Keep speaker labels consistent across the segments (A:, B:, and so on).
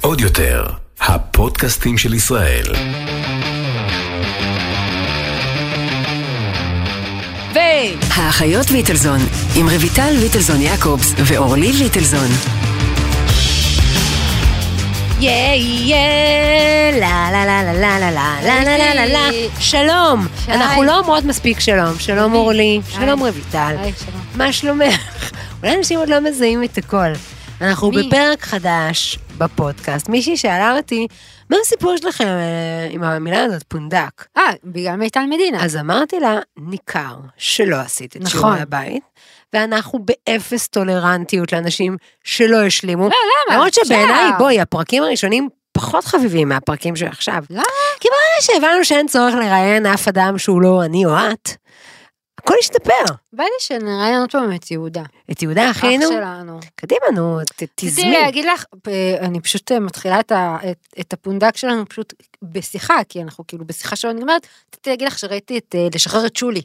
A: עוד יותר, הפודקאסטים של ישראל.
B: האחיות ליטלזון, עם רויטל ליטלזון יעקובס ואורלי ליטלזון.
C: ייי ייי לה לה לה לה לה לה לה לה לה לה לה לה שלום,
D: היי.
C: אנחנו לא אומרות מספיק שלום, שלום
D: היי.
C: אורלי,
D: היי.
C: שלום רויטל,
D: היי, שלום.
C: מה שלומך? אולי אנשים עוד לא מזהים את הכל. אנחנו
D: מי?
C: בפרק חדש בפודקאסט, מישהי שאלה אותי, מה הסיפור שלכם אה, עם המילה הזאת, פונדק?
D: אה, בגלל מיטל מדינה.
C: אז אמרתי לה, ניכר שלא עשית את
D: נכון.
C: שיעורי הבית, ואנחנו באפס טולרנטיות לאנשים שלא השלימו.
D: לא, למה?
C: למרות שבעיניי,
D: אפשר.
C: בואי, הפרקים הראשונים פחות חביבים מהפרקים של עכשיו.
D: למה?
C: כי ברגע שהבנו שאין צורך לראיין אף אדם שהוא לא אני או את, הכל השתפר.
D: בא לי שנראיין עוד פעם את יהודה.
C: את יהודה
D: אח
C: אחינו,
D: שלנו.
C: קדימה, נו, ת-
D: רציתי
C: תזמי.
D: להגיד לך, אה, אני פשוט אה, מתחילה את ה- את- את הפונדק שלנו פשוט בשיחה, כי אנחנו כאילו בשיחה שלא נגמרת, רציתי להגיד לך שראיתי את אה, לשחרר את שולי.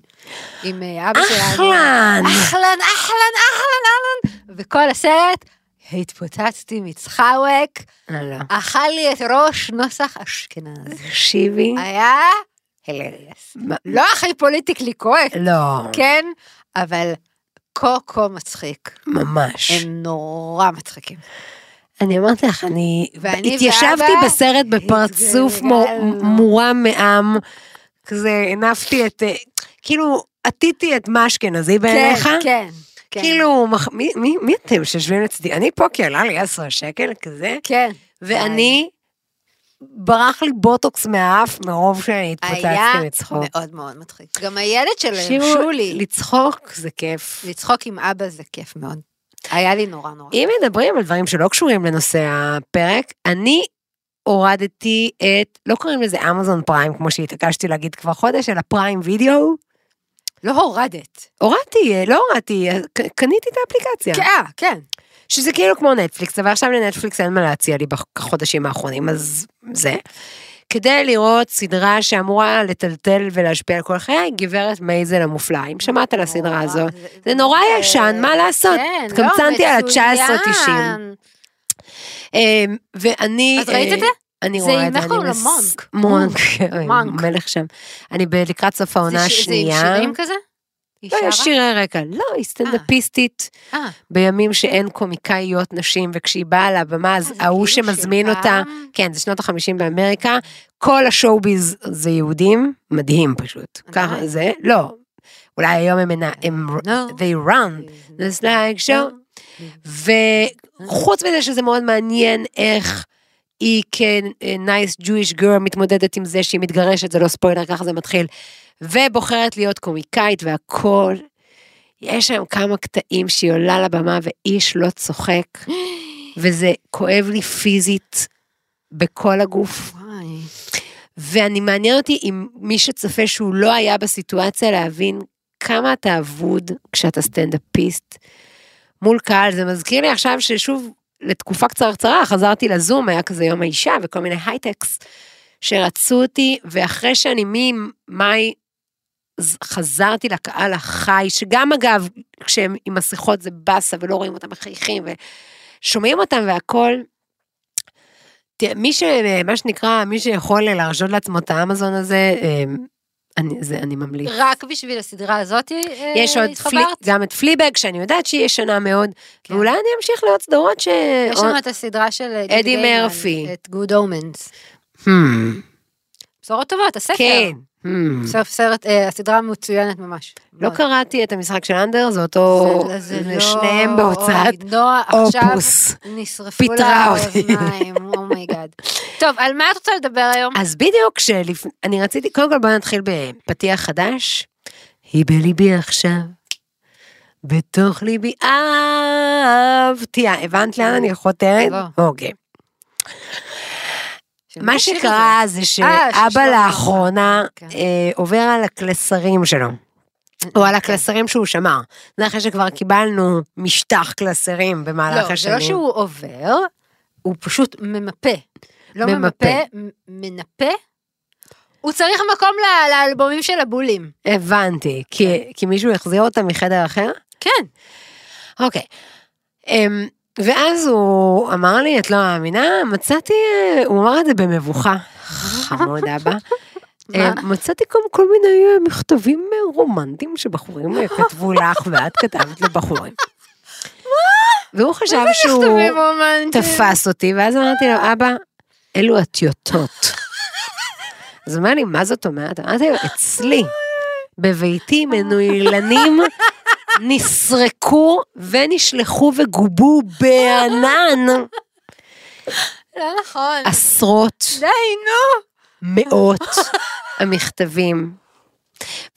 D: עם אה, אבא שלנו.
C: אחלן!
D: אחלן, אחלן, אחלן, אחלן. וכל הסרט, התפוצצתי מצחאווק,
C: לא, לא.
D: אכל לי את ראש נוסח אשכנז.
C: תקשיבי.
D: היה הילריאס.
C: מה-
D: לא הכי פוליטיקלי קורקט,
C: לא,
D: כן, אבל קוקו מצחיק.
C: ממש.
D: הם נורא מצחיקים.
C: אני אמרתי לך, אני
D: ואני
C: התיישבתי
D: ואבא
C: בסרט בפרצוף מו-
D: התגלגלנו.
C: מורם מעם, כזה הנפתי את, אה, כאילו, עטיתי את מה אשכנזי בעיניך.
D: כן, כן, כן.
C: כאילו, מח- מי- מי מי אתם שיושבים לצדי? אני פה כי עלה לי 10 שקל כזה,
D: כן.
C: ואני, ברח לי בוטוקס מהאף מרוב שאני
D: היה
C: התפוצצתי מצחוק.
D: מאוד מאוד מצחיק. גם הילד שלהם,
C: תקשיבו,
D: שולי,
C: לצחוק זה כיף.
D: לצחוק עם אבא זה כיף מאוד. היה לי נורא נורא.
C: אם מדברים על דברים שלא קשורים לנושא הפרק, אני הורדתי את, לא קוראים לזה אמזון פריים, כמו שהתעקשתי להגיד כבר חודש, אלא פריים וידאו.
D: לא הורדת.
C: הורדתי, אה, לא הורדתי, אה, ק- קניתי את האפליקציה.
D: כן, אה, כן.
C: שזה כאילו כמו נטפליקס, אבל עכשיו לנטפליקס אין מה להציע לי בחודשים האחרונים, אז זה. כדי לראות סדרה שאמורה לטלטל ולהשפיע על כל חיי, גברת מייזל המופלאה. אם שמעת על הסדרה
D: נורא,
C: הזו, זה נורא ישן, מה לעשות?
D: כן, לא,
C: התקמצנתי על ה-19-90.
D: מצוין.
C: אמ, ואני...
D: אז ראית את זה?
C: אה, אני
D: זה
C: רואה
D: עם
C: את זה,
D: איך קוראים לו?
C: מס-
D: מונק.
C: מונק,
D: מונק.
C: מונק. מלך שם. אני ב- לקראת סוף
D: זה
C: העונה
D: ש- זה
C: השנייה.
D: עם שירים אה. כזה? היא
C: לא, יש
D: שרה?
C: שירי רקע. לא, היא סטנדאפיסטית
D: אה,
C: בימים שאין קומיקאיות נשים, וכשהיא באה לבמה, אז
D: זה
C: ההוא
D: כאילו
C: שמזמין
D: של
C: אותה,
D: פעם.
C: כן, זה שנות החמישים באמריקה, כל השואו-ביז זה יהודים, מדהים פשוט. ככה
D: עדיין. לא.
C: זה, לא. אולי היום הם אינם, הם,
D: No.
C: they run, it's like show. וחוץ מזה שזה מאוד מעניין איך היא כ-nice Jewish girl מתמודדת עם זה שהיא מתגרשת, זה לא ספוילר, ככה זה מתחיל, ובוחרת להיות קומיקאית והכל. יש שם כמה קטעים שהיא עולה לבמה ואיש לא צוחק, וזה כואב לי פיזית בכל הגוף.
D: וואי.
C: ואני מעניין אותי אם מי שצופה שהוא לא היה בסיטואציה להבין כמה אתה אבוד כשאתה סטנדאפיסט מול קהל. זה מזכיר לי עכשיו ששוב, לתקופה קצרצרה חזרתי לזום, היה כזה יום האישה וכל מיני הייטקס שרצו אותי, ואחרי שאני ממאי ז- חזרתי לקהל החי, שגם אגב, כשהם עם מסכות זה באסה ולא רואים אותם מחייכים ושומעים אותם והכל. תראה, מי ש... מה שנקרא, מי שיכול להרשות לעצמו את האמזון הזה, אה, אני, זה, אני ממליץ.
D: רק בשביל הסדרה הזאת אה,
C: אוקיי. יש עוד פלי,
D: התחברת?
C: גם את פליבג, שאני יודעת שהיא ישנה מאוד,
D: כן.
C: ואולי אני אמשיך לעוד סדרות ש...
D: יש לנו את הסדרה של אה, גיל
C: אדי
D: גיימן,
C: מרפי.
D: את גוד אומנס.
C: Hmm,
D: בשורות טובות, הספר.
C: כן. Hmm.
D: סוף סרט, אה, הסדרה מצוינת ממש.
C: לא
D: מאוד.
C: קראתי את המשחק של אנדר, זה אותו...
D: זה- זה
C: זה
D: לא-
C: שניהם בהוצאת
D: אוי, נועה, עכשיו
C: אופוס.
D: נשרפו
C: פיטרה
D: לה
C: אותי.
D: האוזניים, אומייגאד. טוב, על מה את רוצה לדבר היום?
C: אז בדיוק, שלפ... אני רציתי, קודם כל בוא נתחיל בפתיח חדש. היא בליבי עכשיו, בתוך ליבי אהבתי. אה, הבנת לאן אני חותרת?
D: לא.
C: אוקיי. מה
D: שמישהו ישיר את אה,
C: שקרה זה שאבא
D: ששלמה
C: לאחרונה
D: כן.
C: אה, עובר על הקלסרים שלו.
D: אה,
C: או
D: כן.
C: על הקלסרים שהוא שמר. זה אחרי שכבר קיבלנו משטח קלסרים במהלך
D: לא, זה
C: השנים.
D: לא שהוא עובר, הוא פשוט ממפה. לא
C: ממפה.
D: ממפה, מ- מנפה. הוא צריך מקום ל- לאלבומים של הבולים.
C: הבנתי,
D: כן.
C: כן. כי, כי מישהו החזיר אותה מחדר אחר?
D: כן.
C: אוקיי. אמ, ואז הוא אמר לי, את לא מאמינה, מצאתי, אה, הוא אמר את זה במבוכה, חמוד אבא. אה, מצאתי גם כל מיני אה, מכתבים אה, רומנטיים שבחורים אה, כתבו לך ואת כתבת לבחורים. והוא חשב שהוא
D: מכתבים רומנטיים.
C: תפס אותי, ואז אמרתי לו, אבא, אלו הטיוטות. אז הוא אמר לי, מה זאת אומרת? אמרתי לו, אצלי, בביתי מנוילנים נסרקו ונשלחו וגובו בענן
D: לא נכון.
C: עשרות,
D: די, נו.
C: מאות המכתבים.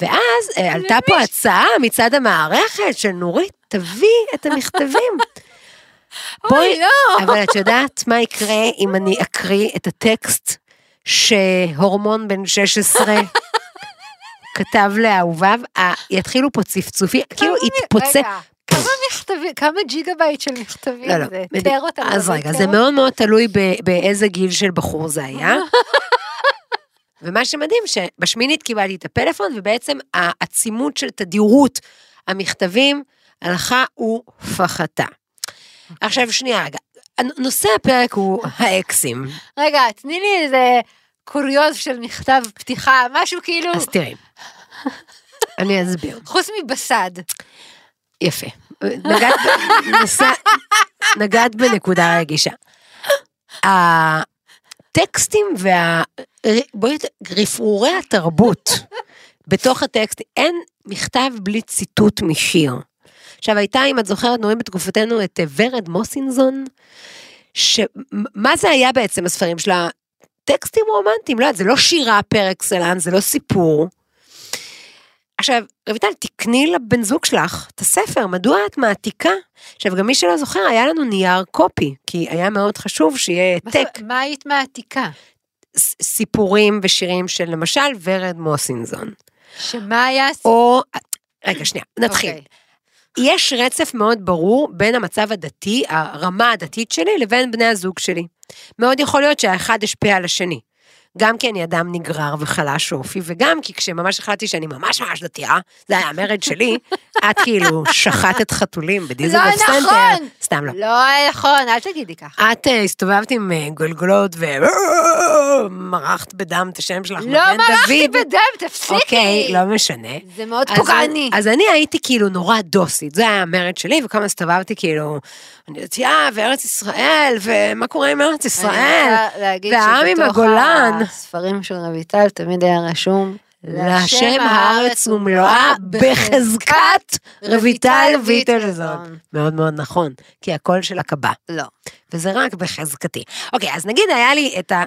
C: ואז אה, עלתה פה הצעה מצד המערכת של נורית, תביא את המכתבים.
D: אוי, לא.
C: אבל את יודעת מה יקרה אם אני אקריא את הטקסט שהורמון בן 16 כתב לאהוביו? אה, יתחילו פה צפצופים, כאילו יתפוצץ.
D: רגע, כמה מכתבים, כמה ג'יגה בייט של מכתבים
C: לא, לא.
D: זה?
C: בדיוק.
D: תאר אותם.
C: אז
D: אבל
C: רגע,
D: תאר
C: זה
D: אותם.
C: מאוד מאוד תלוי ב- באיזה גיל של בחור זה היה. ומה שמדהים, שבשמינית קיבלתי את הפלאפון, ובעצם העצימות של תדירות המכתבים הלכה ופחתה.
D: אוקיי.
C: עכשיו, שנייה רגע. הנ- נושא הפרק הוא האקסים.
D: רגע, תני לי איזה קוריוז של מכתב פתיחה, משהו כאילו,
C: אז תראי, אני אסביר.
D: חוץ מבסד.
C: יפה. נגעת, ב- נסע, נגעת בנקודה רגישה. הטקסטים וה... בואי, ת- רפרורי התרבות בתוך הטקסט, אין מכתב בלי ציטוט משיר. עכשיו הייתה, אם את זוכרת, נוראים בתקופתנו את אה, ורד מוסינזון, שמה זה היה בעצם הספרים שלה? טקסטים רומנטיים, לא יודעת, זה לא שירה פר אקסלנס, זה לא סיפור. עכשיו, רויטל, תקני לבן זוג שלך את הספר, מדוע את מעתיקה? עכשיו, גם מי שלא זוכר, היה לנו נייר קופי, כי היה מאוד חשוב שיהיה
D: מה
C: העתק.
D: זאת- מה היית מעתיקה?
C: ס- סיפורים ושירים של למשל ורד מוסינזון.
D: שמה היה... הס-
C: או... רגע, שנייה, נתחיל.
D: אוקיי.
C: יש רצף מאוד ברור בין המצב הדתי, הרמה הדתית שלי, לבין בני הזוג שלי. מאוד יכול להיות שהאחד השפיע על השני. גם כי אני אדם נגרר וחלש אופי, וגם כי כשממש החלטתי שאני ממש ממש דתייה, זה היה המרד שלי, את כאילו שחטת חתולים בדיזנגוף
D: לא
C: סנטר.
D: נכון.
C: סתם לא.
D: לא נכון, אל תגידי ככה.
C: את אה, הסתובבת עם אה, גולגולות ומרחת בדם את השם שלך,
D: לא
C: מגן
D: מרחתי
C: דוד.
D: בדם, תפסיקי.
C: אוקיי, לא משנה.
D: זה מאוד
C: אז-
D: פוגעני.
C: אז אני הייתי כאילו נורא דוסית, זה היה המרד שלי, וכמה הסתובבתי כאילו, אני דתייה, וארץ ישראל, ומה קורה עם ארץ ישראל?
D: אני רוצה להגיד
C: והעם עם
D: שבתוך
C: הגולן.
D: הספרים של רויטל תמיד היה רשום.
C: להשם הארץ ומלואה בחזקת רויטל ויטלזון. מאוד מאוד נכון, כי הקול שלה קבע,
D: לא.
C: וזה רק בחזקתי. אוקיי, אז נגיד היה לי את ה...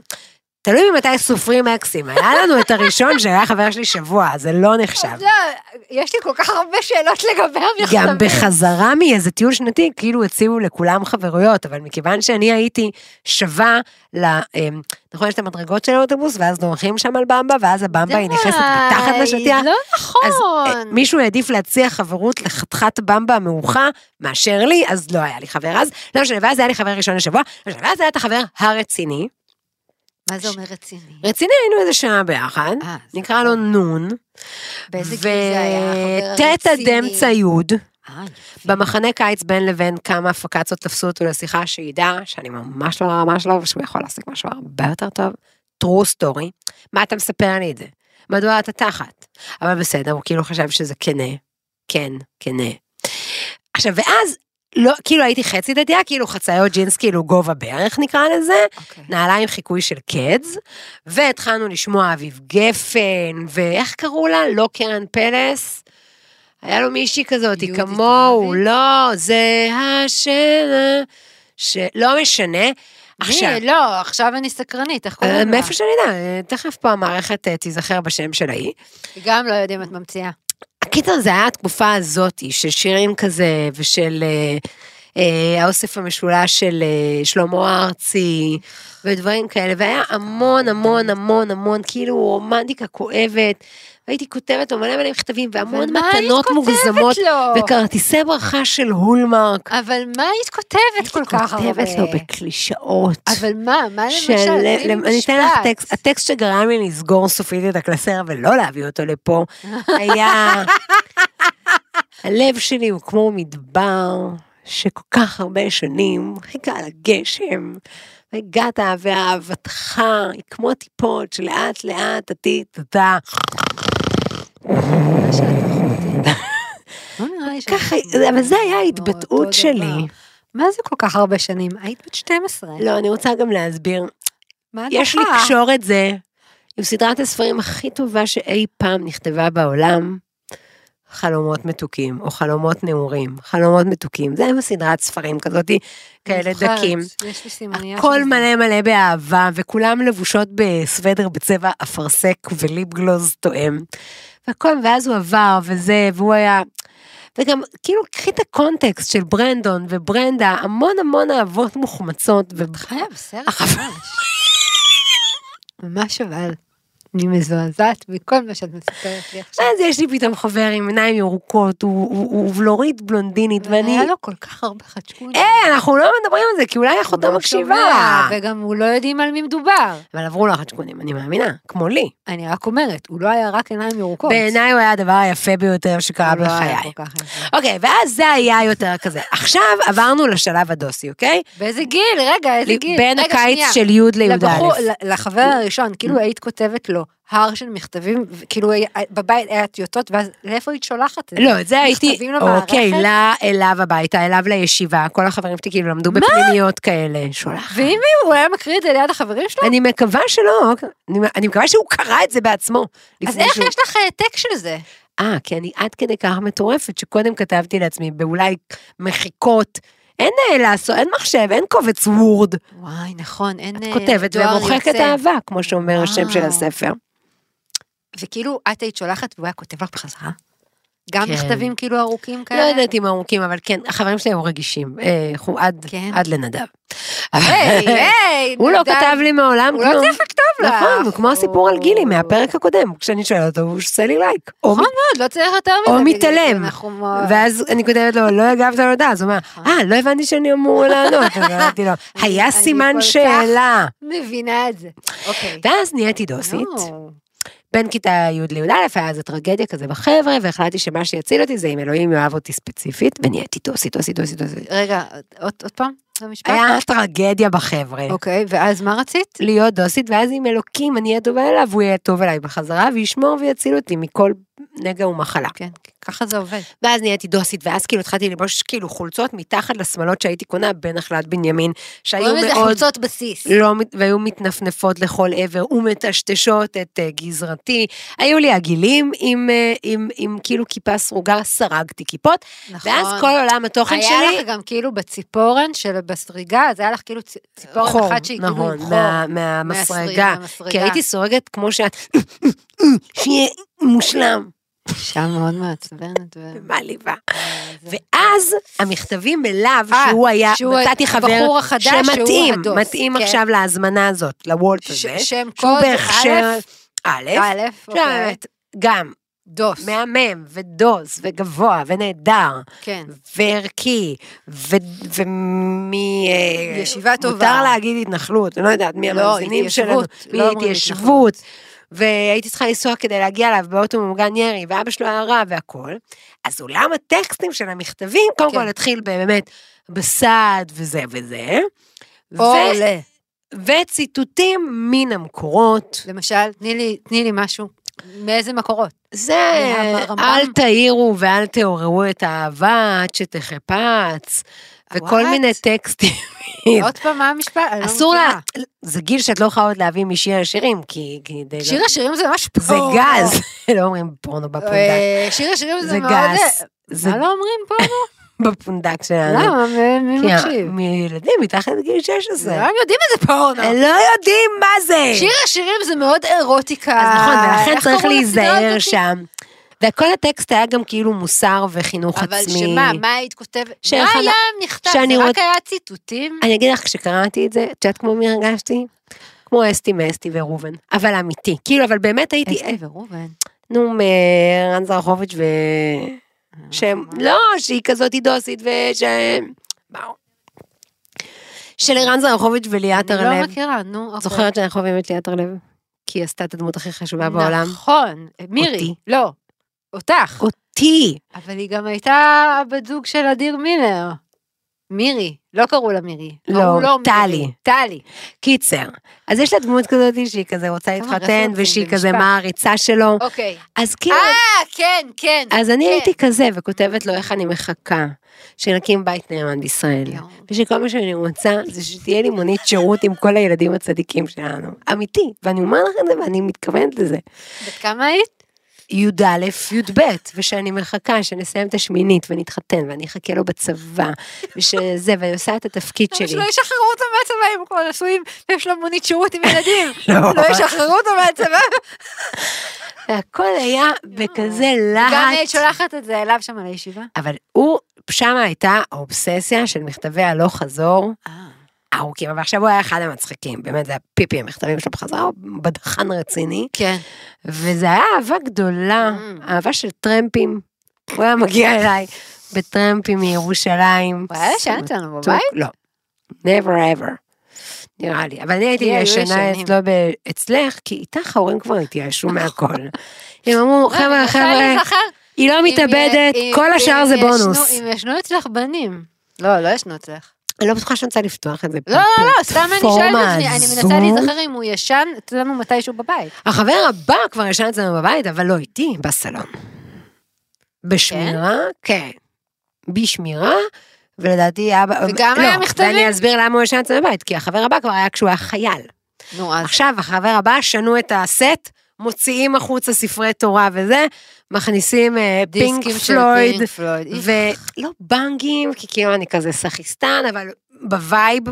C: תלוי ממתי סופרים אקסים, היה לנו את הראשון שהיה חבר שלי שבוע, זה לא נחשב.
D: לא, יש לי כל כך הרבה שאלות לגבי המכתבים.
C: גם בחזרה מאיזה טיול שנתי, כאילו הציעו לכולם חברויות, אבל מכיוון שאני הייתי שווה ל... אמ, נכון, יש את המדרגות של האוטובוס, ואז דורכים שם על במבה, ואז הבמבה היא נכנסת
D: די,
C: מתחת לשטיח.
D: לא
C: אז אה,
D: נכון.
C: מישהו העדיף להציע חברות לחתיכת במבה המעוכה מאשר לי, אז לא היה לי חבר אז. לא משנה, ואז היה לי חבר ראשון השבוע, לא משנה, ואז היה את החבר הרציני.
D: מה זה אומר רציני?
C: רציני היינו איזה שנה ביחד,
D: אה, זה-
C: נקרא לו נון,
D: באיזה גיל זה היה? החבר
C: וטטה דמצא
D: הרציני?
C: יוד.
D: אה, יפה.
C: במחנה קיץ בין לבין כמה הפקצות תפסו אותו לשיחה שידע שאני ממש לא הרמה שלו ושהוא יכול להשיג משהו הרבה יותר טוב. true story. מה אתה מספר לי את זה? מדוע אתה תחת? אבל בסדר, הוא כאילו חשב שזה כנה. כן, כנה. עכשיו, ואז, לא, כאילו הייתי חצי דתייה, כאילו חצאיות ג'ינס, כאילו גובה ברך נקרא לזה,
D: אוקיי.
C: נעליים חיקוי של קדס, והתחלנו לשמוע אביב גפן, ואיך קראו לה? לא קרן פלס. היה לו מישהי כזאת, היא
D: יהודית
C: כמוהו,
D: רביץ?
C: לא, זה השנה, שלא לא משנה. עכשיו,
D: מי? לא, עכשיו אני סקרנית, איך
C: אה,
D: קוראים לה?
C: מאיפה שאני יודע, אה, תכף פה המערכת אה, תיזכר בשם של ההיא.
D: גם לא יודעים, את ממציאה.
C: הקיצר, זה היה התקופה הזאת של שירים כזה, ושל אה, אה, האוסף המשולש של אה, שלמה ארצי, ודברים כאלה, והיה המון המון המון המון, כאילו רומנטיקה כואבת, והייתי כותבת לו מלא מלא מכתבים, והמון
D: אבל מה היית
C: מתנות
D: כותבת
C: מוגזמות,
D: לו?
C: וכרטיסי ברכה של הולמרק.
D: אבל מה היית כותבת כל כך הרבה?
C: כותבת לו בקלישאות.
D: אבל מה, מה
C: של...
D: למשל? תני לי
C: אני אתן לך
D: משפט.
C: טקסט, הטקסט שגרם לי לסגור סופית את הקלסר ולא להביא אותו לפה, היה... הלב שלי הוא כמו מדבר שכל כך הרבה שנים חיכה על הגשם, והגעת, ואהבתך היא כמו הטיפות שלאט לאט עתיד, אתה...
D: לא נראה לי
C: ככה,
D: שאנחנו-
C: אבל זה היה
D: אותו
C: ההתבטאות
D: דבר.
C: שלי.
D: מה זה כל כך הרבה שנים? היית בת 12.
C: לא, אני רוצה גם להסביר.
D: מה את
C: יש
D: נוחה?
C: לקשור את זה עם סדרת הספרים הכי טובה שאי פעם נכתבה בעולם, חלומות מתוקים, או חלומות נעורים. חלומות מתוקים, זה עם הסדרת ספרים כזאתי,
D: אני
C: כאלה
D: זוכרת,
C: דקים.
D: יש לי סימניה
C: הכל
D: של זה.
C: מלא מלא באהבה, וכולם לבושות בסוודר בצבע אפרסק וליפגלוז תואם. והכל, ואז הוא עבר, וזה, והוא היה... וגם, כאילו, קחי את הקונטקסט של ברנדון וברנדה, המון המון אהבות מוחמצות. ו...
D: חיה בסרט
C: החבל.
D: אה, ממש. ממש אבל. אני מזועזעת מכל מה שאת מספרת לי עכשיו.
C: אז יש לי פתאום חבר עם עיניים ירוקות, הוא, הוא, הוא בלורית בלונדינית,
D: אבל
C: אה, ואני...
D: היה לו כל כך הרבה חדשקונים.
C: היי, אנחנו לא מדברים על זה, כי אולי
D: לא הוא
C: אחותו
D: לא
C: מקשיבה.
D: שומע, וגם הוא לא יודעים על מי מדובר.
C: אבל עברו לו החדשקונים, אני מאמינה, כמו לי.
D: אני רק אומרת, הוא לא היה רק עיניים ירוקות.
C: בעיניי הוא היה הדבר היפה ביותר שקרה
D: הוא לא היה
C: בחיי.
D: כל כך יפה.
C: אוקיי, ואז זה היה יותר כזה. עכשיו עברנו לשלב הדוסי, אוקיי?
D: באיזה גיל? רגע, איזה
C: ל-
D: גיל?
C: בין
D: רגע,
C: הקיץ
D: שנייה.
C: של י' לי"א.
D: לבחור- ל- לחבר הראשון,
C: Mm.
D: כאילו היית כותבת לו הר של מכתבים, ו- כאילו היה- בבית היה טיוטות, ואז לאיפה היית שולחת את זה?
C: לא, את זה הייתי,
D: מכתבים למערכת?
C: אוקיי, לה- אליו הביתה, אליו לישיבה, כל החברים שלי כאילו למדו בפנימיות כאלה, שולחת.
D: ואם הוא היה מקריא את זה ליד החברים שלו?
C: אני מקווה שלא, אני, אני מקווה שהוא קרא את זה בעצמו.
D: אז
C: לפני
D: איך
C: שהוא-
D: יש לך העתק של זה?
C: אה, כי אני עד כדי כך מטורפת, שקודם כתבתי לעצמי באולי מחיקות, אין אה, לעשות, אין מחשב, אין קובץ וורד.
D: וואי, נכון, אין...
C: את
D: אה,
C: כותבת
D: דואר
C: ומוחקת
D: יוצא. אה,
C: אהבה, כמו שאומר השם של
D: וואו.
C: הספר.
D: וכאילו, את היית שולחת והוא היה כותב לך בחזרה? גם
C: כן.
D: מכתבים כאילו ארוכים
C: לא
D: כאלה?
C: יודעת אם ארוכים, אבל כן, החברים שלי היו רגישים, אה, חו- עד-
D: כן.
C: עד לנדב. אה,
D: היי, היי,
C: הוא לא
D: נדב.
C: כתב לי מעולם
D: הוא לא
C: כלום.
D: צריך לכתוב לך.
C: נכון, הוא כמו הסיפור על גילי
D: הוא-
C: מהפרק הקודם, כשאני שואלת אותו, הוא עושה לי לייק. או
D: נכון מאוד, לא צריך יותר מזה.
C: או
D: בגלל זה
C: מתעלם.
D: אנחנו מ-
C: ואז אני כותבת לו, לא הגבת על הודעה, אז הוא אמר, אה, לא הבנתי שאני אמור לענות. אז אמרתי לו, היה
D: אני
C: סימן
D: כל כך-
C: שאלה.
D: מבינה את זה. אוקיי.
C: ואז נהייתי דוסית,
D: נו.
C: בין כיתה י' לי"א, היה איזה טרגדיה כזה בחבר'ה, והחלטתי שמה שיציל אותי זה אם אלוהים יאהב אותי ספציפית, ונהייתי דוסית, דוסית, דוסית, דוסית.
D: רגע, עוד עוד פעם? במשפט?
C: היה טרגדיה בחבר'ה.
D: אוקיי, ואז מה רצית?
C: להיות דוסית, ואז אם אלוקים אני אהיה טובה אליו, הוא יהיה טוב אליי בחזרה, וישמור ויציל אותי מכל נגע ומחלה.
D: כן, ככה זה עובד.
C: ואז נהייתי דוסית, ואז כאילו התחלתי ללבוש כאילו חולצות מתחת לשמלות שהייתי קונה בנחלת בנימין, שהיו
D: קוראים לזה
C: מאוד...
D: חולצות בסיס.
C: לא, מת- והיו מתנפנפות לכל עבר ומטשטשות את אה, גזרתי. היו לי עגילים עם, אה, עם, עם כאילו כיפה סרוגה, סרגתי כיפות,
D: נכון.
C: ואז כל עולם התוכן
D: היה
C: שלי...
D: לך גם כאילו בציפורן של בסריגה, אז היה לך כאילו צ- ציפורן
C: חור,
D: אחת שהיא כאילו
C: נכון,
D: עם חור.
C: מה- מהמסרגה.
D: מהמסרגה.
C: כי הייתי סורגת כמו שאת, שיהיה מושלם.
D: אישה מאוד מעצבנת. ו-
C: מעליבה.
D: וזה.
C: ואז המכתבים אליו,
D: אה,
C: שהוא היה,
D: שהוא
C: מצאתי חבר
D: הבחור החדש שהוא
C: שמתאים,
D: הדוס.
C: מתאים
D: כן.
C: עכשיו להזמנה הזאת, לוולט
D: ש-
C: הזה,
D: שם
C: שהוא
D: קוד
C: בהכשר א',
D: א', אוקיי.
C: שבאמת, גם
D: דוס.
C: מהמם ודוס וגבוה ונהדר
D: כן.
C: וערכי ומ... אה,
D: ישיבה טובה.
C: מותר להגיד התנחלות, אני לא יודעת מי
D: לא,
C: המאזינים שלנו,
D: התיישבות, לא אומרים
C: מהתיישבות, והייתי צריכה לנסוע כדי להגיע אליו באוטו ממוגן ירי, ואבא שלו היה רע והכל, אז אולם הטקסטים של המכתבים, קודם
D: כן.
C: כל התחיל באמת בסעד וזה וזה, ו-
D: או ל...
C: וציטוטים מן המקורות.
D: למשל, תני לי- תני לי משהו. מאיזה מקורות?
C: זה
D: מהרמב"ם?
C: אל תעירו ואל תעוררו את האהבה עד שתחפץ, וכל
D: אה, What?
C: מיני טקסטים.
D: עוד פעם, מה המשפט? אני לא
C: אסור לה...
D: מכירה.
C: זה גיל שאת לא יכולה עוד להביא משיר השירים, כי... כי די לא-
D: שיר השירים זה ממש פורנו.
C: זה גז. לא אומרים פורנו בפונדק.
D: אה, שיר השירים זה
C: זה
D: מאוד...
C: גס. זה
D: זה מה לא אומרים פה?
C: בפונדק שלנו.
D: למה? מ- מי
C: כי ה-
D: מקשיב? לא,
C: מילדים מתחת לגיל 16.
D: כולם יודעים איזה פורנו.
C: הם לא יודעים מה זה.
D: שיר השירים זה מאוד אירוטיקה.
C: אז נכון, ולכן
D: איך
C: צריך
D: קוראים לסדרה
C: להיזהר
D: הזאת?
C: שם. וכל הטקסט היה גם כאילו מוסר וחינוך עצמי.
D: אבל שמה, מה היית כותבת?
C: של
D: מה
C: חנה-
D: היה נכתב?
C: שאני
D: זה רק
C: רוצ-
D: היה ציטוטים?
C: אני אגיד לך, כשקראתי את זה, את יודעת כמו מי הרגשתי? כמו אסתי מאסתי וראובן, אבל אמיתי. כאילו, אבל באמת הייתי,
D: אסתי וראובן.
C: נו, מרן זרחוביץ' ו... שהם, לא, שהיא כזאת דוסית וש... באו. של ערן זרחוביץ' וליאת
D: אני לא
C: הרלב.
D: מכירה, נו. אוקיי.
C: זוכרת שאנחנו אוהבים את ליאת הרלב? כי היא עשתה את הדמות הכי חשובה בעולם.
D: נכון, מירי.
C: אותי.
D: לא, אותך.
C: אותי.
D: אבל היא גם הייתה הבת זוג של אדיר מילר. מירי, לא קראו לה מירי.
C: לא,
D: קראו לו
C: טלי.
D: מירי. טלי.
C: קיצר, אז יש לה דמות כזאת שהיא כזה רוצה
D: כמה
C: להתחתן,
D: רפרנסים
C: ושהיא כזה
D: במשפט.
C: מה העריצה שלו.
D: אוקיי.
C: אז כאילו,
D: אה, כן, כן.
C: אז אני
D: כן.
C: הייתי כזה, וכותבת לו איך אני מחכה, שנקים בית נאמן בישראל.
D: יואו.
C: ושכל מה שאני רוצה זה שתהיה לי מונית שירות עם כל הילדים הצדיקים שלנו. אמיתי, ואני אומר לך את זה ואני מתכוונת לזה.
D: בת כמה היית?
C: י"א, י"ב, ושאני מחכה שנסיים את השמינית ונתחתן, ואני אחכה לו בצבא, ושזה, ואני עושה את התפקיד
D: למה
C: שלי.
D: שלא לא ישחררו אותו מהצבא, הם כבר נשואים, ויש לו מונית שירות עם ילדים.
C: לא.
D: לא ישחררו אותו מהצבא.
C: והכל היה בכזה
D: גם היית
C: להט.
D: שולחת את זה אליו שם לישיבה?
C: אבל הוא, שמה הייתה האובססיה של מכתבי הלוך חזור ארוכים, אבל עכשיו הוא היה אחד המצחיקים, באמת זה הפיפי, המכתבים שלו בחזרה, הוא בדחן רציני,
D: כן.
C: וזה היה אהבה גדולה,
D: Mm.
C: אהבה של טרמפים. הוא היה מגיע אליי בטרמפים מירושלים.
D: הוא היה ישן שלנו
C: צוק-
D: בבית?
C: לא. never ever. נראה לי. אבל אני הייתי
D: לי היו
C: ישנה
D: ישנים. נכון.
C: אצלו, ב- אצלך, כי איתך ההורים כבר התייאשו מהכל. הם אמרו, חבר'ה, חבר'ה,
D: לא, אני זוכר.
C: היא לא מתאבדת,
D: אם-
C: כל
D: אם-
C: השאר
D: אם
C: זה
D: ישנו-
C: בונוס.
D: אם ישנו אצלך בנים. לא, לא ישנו אצלך.
C: אני לא בטוחה שאני רוצה לפתוח את זה.
D: לא, לא, לא, סתם אני שואלת את
C: הפלטפורמה
D: עצמי, אני
C: הזו.
D: מנסה להיזכר אם הוא ישן אצלנו מתישהו בבית.
C: החבר הבא כבר ישן אצלנו בבית, אבל לא איתי, בסלון. בשמירה, כן. בשמירה, ולדעתי אבא...
D: וגם
C: לא,
D: היה מכתבים?
C: ואני אסביר למה הוא ישן אצלנו בבית, כי החבר הבא כבר היה כשהוא היה חייל.
D: נו, אז
C: עכשיו, החבר הבא, שנו את הסט, מוציאים החוצה ספרי תורה וזה, מכניסים אה, פינק
D: דיסקים של
C: פלויד,
D: פינק פלויד. איך
C: ולא בנגים, כי כאילו אני כזה סכיסטן, אבל בווייב,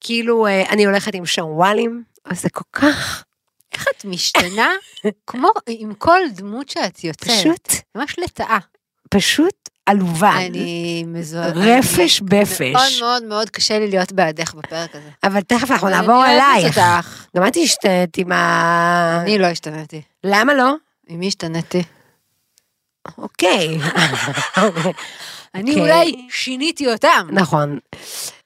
C: כאילו אה, אני הולכת עם שרוואלים, אז זה כל כך
D: את משתנה כמו עם כל דמות שאת יוצרת.
C: פשוט,
D: ממש לטאה.
C: פשוט עלובה.
D: אני מזוהה.
C: רפש
D: אני- מאוד
C: בפש.
D: מאוד מאוד קשה לי להיות בעדך בפרק הזה.
C: אבל תכף אנחנו
D: אני
C: נעבור
D: אוהבת
C: אלייך.
D: אותך.
C: גם את השתנית עם ה...
D: אני לא השתנתי.
C: למה לא?
D: עם מי השתנתי?
C: אוקיי.
D: אני
C: אוקיי.
D: אולי שיניתי אותם.
C: נכון.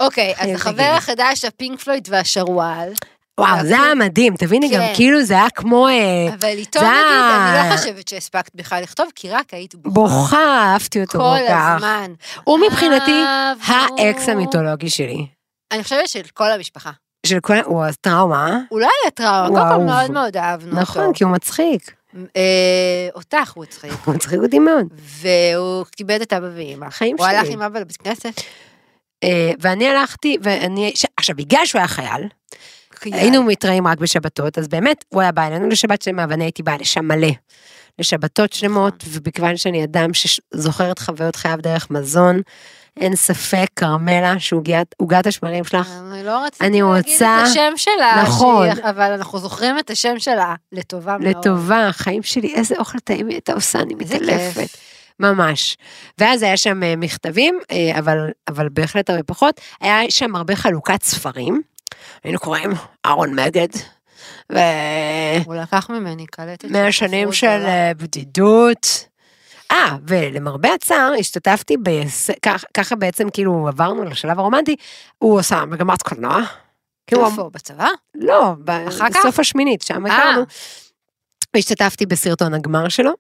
D: אוקיי, אז
C: חייב
D: החבר
C: להגיד.
D: החדש, הפינק פלויד והשרוואל,
C: וואו, זה היה מדהים, תביני גם,
D: כן.
C: כאילו זה היה כמו אה,
D: אבל איתו
C: זה
D: נגיד, אני
C: ה-
D: לא חושבת שהספקת בכלל לכתוב, כי רק היית
C: בוכה, אהבתי אותו
D: כל
C: כל כך.
D: הזמן. אה,
C: הוא מבחינתי
D: אהבנו.
C: האקס המיתולוגי שלי.
D: אני חושבת של כל המשפחה.
C: של כל, הוא טראומה.
D: הוא לא היה טראומה, קודם
C: וואו.
D: כל מאוד מאוד אהבנו אותו.
C: נכון, כן. כי הוא מצחיק.
D: אה, אותך הוא הצחיק.
C: הוא מצחיק אותי מאוד.
D: והוא כיבד את אבא ואמא.
C: החיים
D: הוא הלך
C: שלי.
D: עם אבא לבית כנסת.
C: אה, ואני הלכתי, ואני, ש- עכשיו, בגלל שהוא היה חייל, היינו מתראים רק בשבתות, אז באמת, הוא היה בא אלינו לשבת שלמה, ואני הייתי באה לשם מלא. לשבתות שלמות,
D: נכון.
C: ובכיוון שאני אדם שזוכר את חוויות חייו דרך מזון, אין ספק, כרמלה, שעוגיית עוגת השמרים שלך,
D: אני לא רציתי
C: אני
D: להגיד
C: רוצה-
D: את השם שלה,
C: נכון.
D: שהיא- אבל אנחנו זוכרים את השם שלה לטובה מאוד.
C: לטובה, החיים שלי, איזה אוכל טעים היא הייתה עושה, אני
D: איזה
C: מתעלפת.
D: כיף.
C: ממש. ואז היה שם אה, מכתבים, אה, אבל, אבל בהחלט הרבה פחות. היה שם הרבה חלוקת ספרים. היינו קוראים אהרון מגד, ומאה
D: הוא לקח ממני קלטת.
C: שנים
D: ספרות
C: של
D: גדולה.
C: אה, בדידות. אה, ולמרבה הצער, השתתפתי ב... ככה בעצם כאילו עברנו לשלב הרומנטי, הוא עשה מגמת קולנוע. כאילו, הוא אמ-
D: איפה? בצבא?
C: לא, ב-
D: אחר כך? אה.
C: בסוף השמינית, שם הכרנו. והשתתפתי בסרטון הגמר שלו.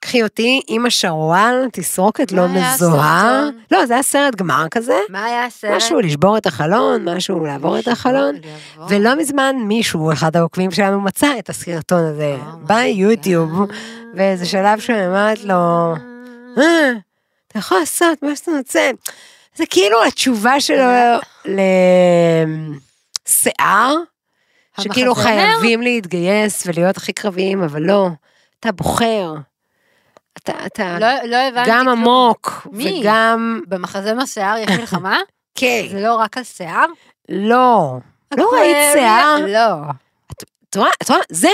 C: קחי אותי עם השרוואל, תסרוקת
D: מה
C: לא
D: היה
C: מזוהה.
D: הסרטון?
C: לא, זה היה סרט גמר כזה.
D: מה היה הסרט?
C: משהו לשבור את החלון, משהו לעבור
D: לא,
C: את החלון.
D: לעבור.
C: ולא מזמן מישהו, אחד העוקבים שלנו, מצא את הסרטון הזה
D: Oh my
C: ביוטיוב.
D: God.
C: באיזה שלב שאני אומרת לו, "אה, אתה יכול לעשות מה שאתה רוצה. זה כאילו התשובה שלו לשיער. שכאילו
D: המחזמר?
C: חייבים להתגייס ולהיות הכי קרביים, אבל לא, אתה בוחר. אתה, אתה
D: לא לא הבנתי
C: גם
D: כלום.
C: עמוק,
D: מי?
C: וגם...
D: במחזמר שיער יש מלחמה?
C: כן,
D: זה לא רק על שיער? אוקיי.
C: לא. לא ראית שיער?
D: לא.
C: את רואה, את רואה, זה